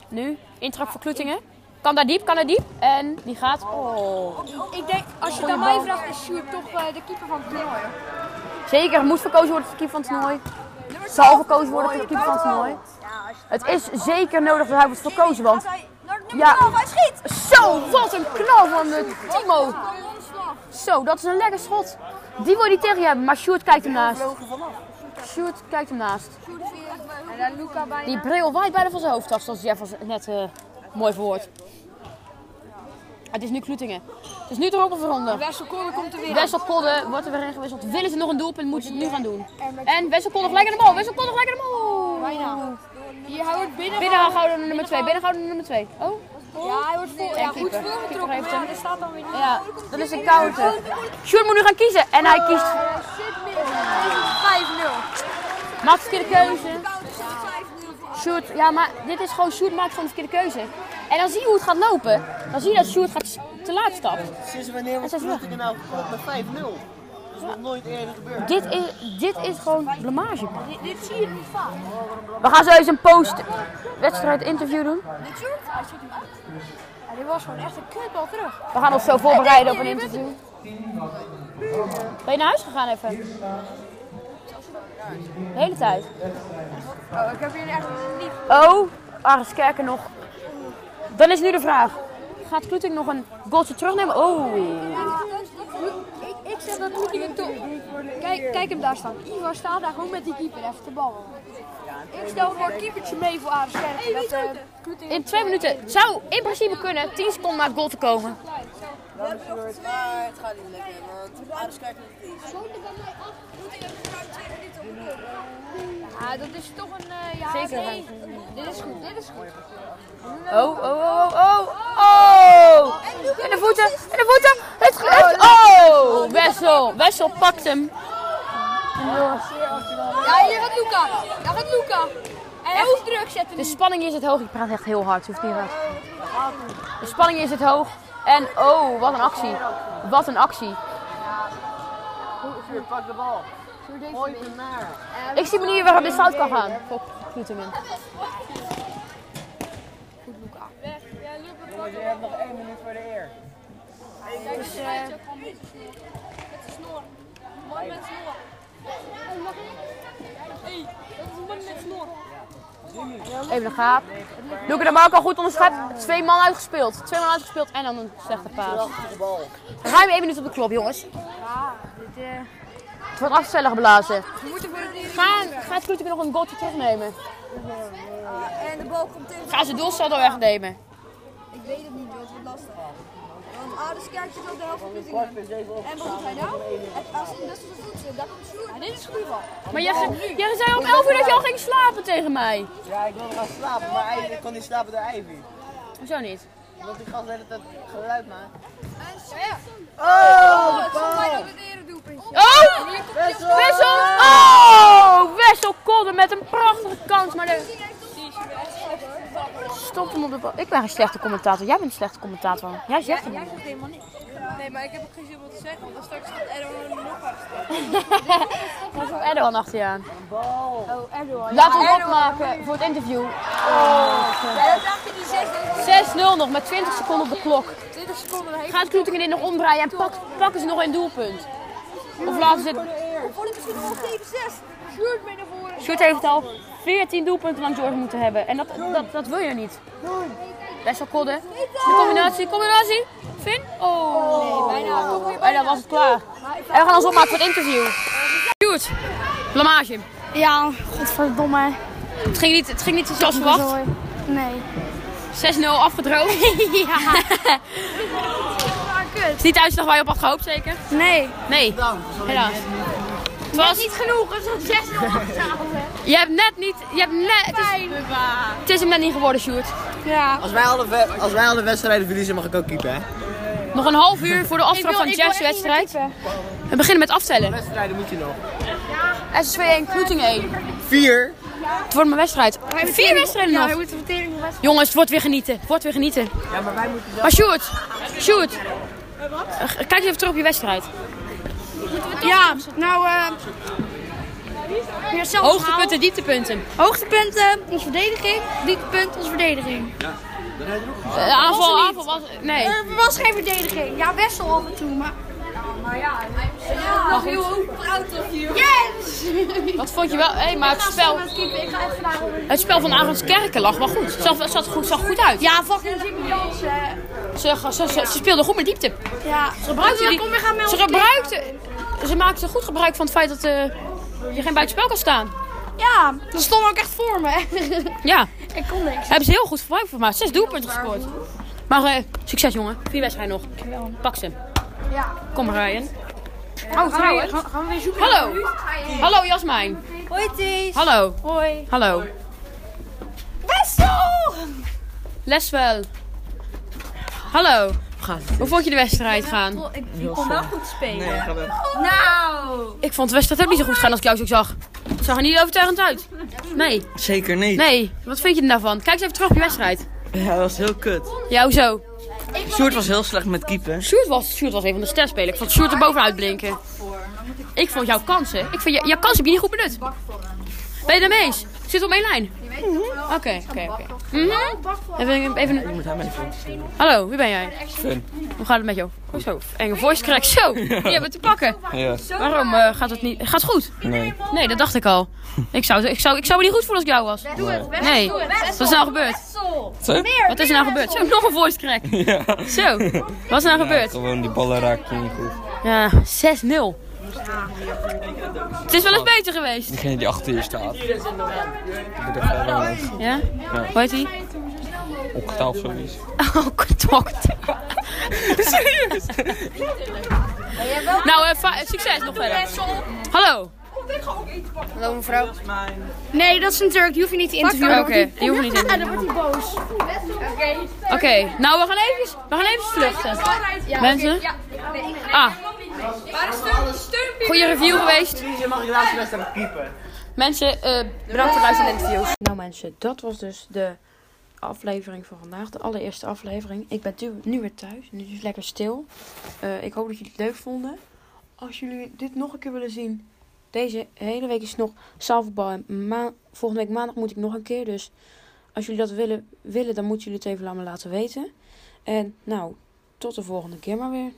[SPEAKER 2] Nu, intrap voor Kloetingen. Kan daar diep, kan daar diep. En die gaat. Oh.
[SPEAKER 5] Ik denk, als je het aan mij vraagt, is Sjoerd toch eh, de keeper van het toernooi. hoor.
[SPEAKER 2] Zeker, moet verkozen worden tot keeper van het toernooi. Zal verkozen worden tot keeper van het toernooi. Het is zeker nodig dat hij wordt verkozen, want...
[SPEAKER 10] nou,
[SPEAKER 2] Ja. Zo, wat een knal van de Timo. Zo, dat is een lekker schot. Die wil hij tegen je hebben, maar Sjoerd kijkt hem naast. Sjoerd kijkt hem naast.
[SPEAKER 5] En dan Luca bij.
[SPEAKER 2] Die bril waait bijna van zijn hoofd af, zoals Jeff was net eh, mooi verwoord. Het is nu Kloetingen. Het is nu toch ook een veronder.
[SPEAKER 5] Wesselkolle komt er weer.
[SPEAKER 2] Wesselkodde wordt er weer ingewisseld. Willen ze nog een doelpunt, moeten ze het nu gaan doen. En Wesselkodde gelijk aan de bal. Wesselkodde gelijk aan de bal.
[SPEAKER 5] Bijna. Hier houdt het binnen.
[SPEAKER 2] Binnengehouden door nummer 2. Binnengehouden door nummer 2. Oh,
[SPEAKER 5] Ja, hij wordt vol.
[SPEAKER 2] En
[SPEAKER 5] Ja, goed
[SPEAKER 2] keeper.
[SPEAKER 5] voorgetrokken.
[SPEAKER 2] Keeper
[SPEAKER 5] Maar
[SPEAKER 2] heeft
[SPEAKER 5] ja,
[SPEAKER 2] hem.
[SPEAKER 5] er staat dan weer niet.
[SPEAKER 2] ja. Dat is een counter. Sjoerd moet nu gaan kiezen. En hij kiest.
[SPEAKER 5] Eh, Zit meer. Het is 5-0.
[SPEAKER 2] Maakt verkeerde keuze. Sjoerd, ja, maar dit is gewoon Sjoerd maakt gewoon de verkeerde keuze. En dan zie je hoe het gaat lopen. Dan zie je dat Sjoerd gaat s- te laat stapt.
[SPEAKER 4] Sinds wanneer was
[SPEAKER 2] Hij staat
[SPEAKER 4] Groningen nou gekocht met 5-0? Dat is nog nooit eerder gebeurd.
[SPEAKER 2] Dit is, dit is gewoon blamage. Dit, zie je niet vaak. We gaan zo eens een post-wedstrijd interview doen.
[SPEAKER 5] Ja, dit was gewoon echt een kutbal terug.
[SPEAKER 2] We gaan ons zo voorbereiden op een interview. Ben je naar huis gegaan even? De hele tijd.
[SPEAKER 5] Oh, ik heb hier echt niet.
[SPEAKER 2] Oh, Aris Kerken nog. Dan is nu de vraag. Gaat Kloeting nog een goaltje terugnemen? Oh.
[SPEAKER 5] Ik, ik zeg dat Kloetingen toch. Kijk, kijk hem daar staan. Ivar staat daar gewoon met die keeper even te ballen. Ik stel voor een keepertje mee voor Aris Kerk. dat, eh, Kloetingen-
[SPEAKER 2] In twee minuten. Het zou in principe kunnen. 10 seconden na het goal te komen.
[SPEAKER 10] Maar het gaat niet lukken, want ouders kijken niet eens.
[SPEAKER 5] Ja, dat is toch een. eh, ja,
[SPEAKER 2] Zeker.
[SPEAKER 5] nee. Dit is goed, dit is goed.
[SPEAKER 2] Oh, oh, oh, oh, oh. En de voeten, en de voeten. Het gelukt. Oh, Wessel. Wessel pakt hem.
[SPEAKER 5] Ja, hier gaat Luca. Daar gaat Luca. En hij hoeft druk zetten.
[SPEAKER 2] De spanning is het hoog. Ik praat echt heel hard. Je hoeft niet hard. De spanning is het hoog. En oh, wat een actie. Wat een actie.
[SPEAKER 4] Sjoerd, pak de bal. Gooi hem naar.
[SPEAKER 2] Ik zie me niet waarop dit fout kan gaan. Voor Groetingen.
[SPEAKER 4] Jullie hebben nog één minuut voor de eer.
[SPEAKER 2] Even de gaap. Doe ik hem ook al goed onderschept. Twee man uitgespeeld. Twee man uitgespeeld en dan een slechte paas. Ruim één minuut op de klop, jongens. Het wordt afstellen geblazen. Gaan, gaat Groetingen nog een goaltje terugnemen?
[SPEAKER 10] En de bal komt tegen.
[SPEAKER 2] Gaan ze doelsaldo wegnemen?
[SPEAKER 10] Ik weet het niet, dat wordt lastig. Want ouders kijken op de helft van Groningen. En wat doet hij nou? Het- Als hij best wel goed zit, dan komt Sjoerd.
[SPEAKER 5] Dit is goed bal.
[SPEAKER 2] Maar jij, jij zei om 11 uur dat je al ging slapen tegen mij.
[SPEAKER 4] Ja, ik wilde gaan slapen, maar Ivy, ik kon niet slapen door Ivy.
[SPEAKER 2] Hoezo niet?
[SPEAKER 4] Omdat die gast de hele tijd geluid maakt.
[SPEAKER 3] Oh,
[SPEAKER 10] Oh,
[SPEAKER 2] Oh!
[SPEAKER 4] Wessel!
[SPEAKER 2] Wessel! Oh! Wessel Kolder met een prachtige kans, maar de... Stop hem om op de bal. Ik ben geen slechte commentator. Jij bent een slechte commentator. Jij zegt het niet.
[SPEAKER 3] Nee, maar ik heb ook geen zin om te zeggen, want dan straks gaat Erwin nog achter.
[SPEAKER 2] Dan komt Erdogan achter je aan. Oh, Erdogan. Laten we hem opmaken voor het interview. Oh, 6-0 nog met 20 seconden op de klok.
[SPEAKER 3] 20 seconden heen.
[SPEAKER 2] Gaat Kloetingen dit nog omdraaien en pak, pakken ze nog een doelpunt? Of laten ze het...
[SPEAKER 10] Vond ik misschien nog wel 7-6. Sjoerd mee naar voren.
[SPEAKER 2] Sjoerd heeft al 14 doelpunten aan George moeten hebben. En dat, dat, dat wil je niet. Best wel kodden. De combinatie, combinatie. Vin? Oh. bijna. Bijna was het klaar. En we gaan ons opmaken voor het interview. Sjoerd, blamage.
[SPEAKER 11] Ja, godverdomme.
[SPEAKER 2] Het ging niet, het ging niet zoals verwacht.
[SPEAKER 11] Nee.
[SPEAKER 2] 6-0 afgedroogd.
[SPEAKER 11] ja.
[SPEAKER 2] Het is niet de uitslag waar je op had gehoopt, zeker?
[SPEAKER 11] Nee.
[SPEAKER 2] Nee, helaas. Het was niet genoeg, het was 6 Je hebt net niet, je hebt net, het is, het is hem net niet geworden, Sjoerd.
[SPEAKER 4] Als wij alle, we- als wij alle wedstrijden verliezen, mag ik ook keeper, hè?
[SPEAKER 2] Nog een half uur voor de aftrap van Jeff's wedstrijd. We beginnen met aftellen.
[SPEAKER 4] Wedstrijden moet je nog.
[SPEAKER 2] SSV 1, Kloeting 1.
[SPEAKER 4] Vier.
[SPEAKER 2] Het wordt mijn wedstrijd. Vier wedstrijden nog. Jongens, het wordt weer genieten. Het wordt weer genieten.
[SPEAKER 4] Ja, maar wij moeten wel...
[SPEAKER 2] Maar Sjoerd, Sjoerd. eh, Kijk eens even terug op je wedstrijd.
[SPEAKER 11] Ja, nou, eh ja, zelf
[SPEAKER 2] Hoogtepunten, dieptepunten.
[SPEAKER 11] verhaal. Hoogtepunten, onze verdediging. Dieptepunt, onze verdediging.
[SPEAKER 2] Eh, aanval, aanval was... Nee.
[SPEAKER 11] Er was geen verdediging. Ja, Wessel af en toe, maar...
[SPEAKER 2] Maar goed.
[SPEAKER 11] Yes!
[SPEAKER 2] Wat vond je wel? Hé, maar het spel,
[SPEAKER 11] Ik ga even naar
[SPEAKER 2] het spel van Arends Kerken lag wel goed. Het zag, het zag goed, zag goed uit.
[SPEAKER 11] Ja, fucking Jimmy Jansen.
[SPEAKER 2] Ze, ze, ze, ze speelden goed met diepte.
[SPEAKER 11] Ja.
[SPEAKER 2] Ze gebruikten die,
[SPEAKER 11] Kom, we gaan met
[SPEAKER 2] ze
[SPEAKER 11] onze
[SPEAKER 2] gebruikten... Ze maakten goed gebruik van het feit dat eh, je geen buitenspel kan staan.
[SPEAKER 11] Ja, dat stond ook echt voor me.
[SPEAKER 2] Ja,
[SPEAKER 11] ik kon niks.
[SPEAKER 2] hebben ze heel goed gebruik van gemaakt. Zes doelpunten gescoord. Maar eh, succes jongen. Vier wedstrijden nog. Pak ze. Ja. Kom maar Ryan. Oh, trouwens. Hallo. Hallo Jasmijn.
[SPEAKER 6] Hoi Ties.
[SPEAKER 2] Hallo.
[SPEAKER 6] Hoi.
[SPEAKER 2] Hallo.
[SPEAKER 6] Wessel!
[SPEAKER 2] Leswel. Hallo. Hoe vond je de wedstrijd gaan?
[SPEAKER 4] Nee, ga weg.
[SPEAKER 2] Ik vond de wedstrijd ook niet zo goed gaan als ik jou zo zag. Het zag er niet overtuigend uit. Nee,
[SPEAKER 4] Zeker niet.
[SPEAKER 2] nee. Wat vind je er nou van? Kijk eens even terug op je wedstrijd.
[SPEAKER 4] Ja, dat was heel kut.
[SPEAKER 2] Ja, hoezo?
[SPEAKER 4] Sjoerd was heel slecht met keeper.
[SPEAKER 2] Sjoerd was, Sjoerd was een van de sterspelers. Ik vond Sjoerd er bovenuit blinken. Ik vond jouw kansen. Ik vind, jou- jouw kansen heb je niet goed benut. Ben je het daarmee eens? Zit op één lijn? Mhm. Oké, oké, oké. Mhm. Even, even,
[SPEAKER 4] Ik moet hem even
[SPEAKER 2] Hallo, wie ben jij?
[SPEAKER 4] Fun.
[SPEAKER 2] Hoe gaat het met jou? Oh, zo. Enge voice crack. Zo, die hebben we te pakken.
[SPEAKER 4] Ja.
[SPEAKER 2] Waarom eh, gaat het niet? Gaat het goed?
[SPEAKER 4] Nee.
[SPEAKER 2] Nee, dat dacht ik al. Ik zou, ik zou, ik zou me niet goed voelen als ik jou was. Nee, wat is nou gebeurd?
[SPEAKER 4] Zo?
[SPEAKER 2] Wat is er nou gebeurd? Zo, nog een voice crack.
[SPEAKER 4] Ja.
[SPEAKER 2] Zo, wat is er nou gebeurd?
[SPEAKER 4] Gewoon die ballen raakten niet goed.
[SPEAKER 2] Ja, 6-0. Het is wel eens beter geweest.
[SPEAKER 4] Degene die achter je staat.
[SPEAKER 2] Ja? Hoe heet die?
[SPEAKER 4] Octaal zoiets.
[SPEAKER 2] Oh, contact. Serieus? nou, eh, fa- succes nog verder. Hallo. Hallo mevrouw.
[SPEAKER 11] Nee, dat is een Turk. Die hoef je niet te interviewen.
[SPEAKER 2] Oké, die hoeven niet in.
[SPEAKER 11] Ja, dan wordt hij boos.
[SPEAKER 2] Oké, nou we gaan even, we gaan even vluchten. Mensen? Ah. Goede review geweest.
[SPEAKER 4] mag je laatste wedstrijd keeper.
[SPEAKER 2] Mensen, eh, bedankt voor het luisteren naar de interviews.
[SPEAKER 12] Nou mensen, dat was dus de aflevering van vandaag. De allereerste aflevering. Ik ben tu- nu weer thuis. Nu is het lekker stil. Eh, ik hoop dat jullie het leuk vonden. Als jullie dit nog een keer willen zien. Deze hele week is nog zaalvoetbal. En ma- volgende week maandag moet ik nog een keer. Dus als jullie dat willen, willen dan moeten jullie het even aan me laten weten. En nou, tot de volgende keer maar weer.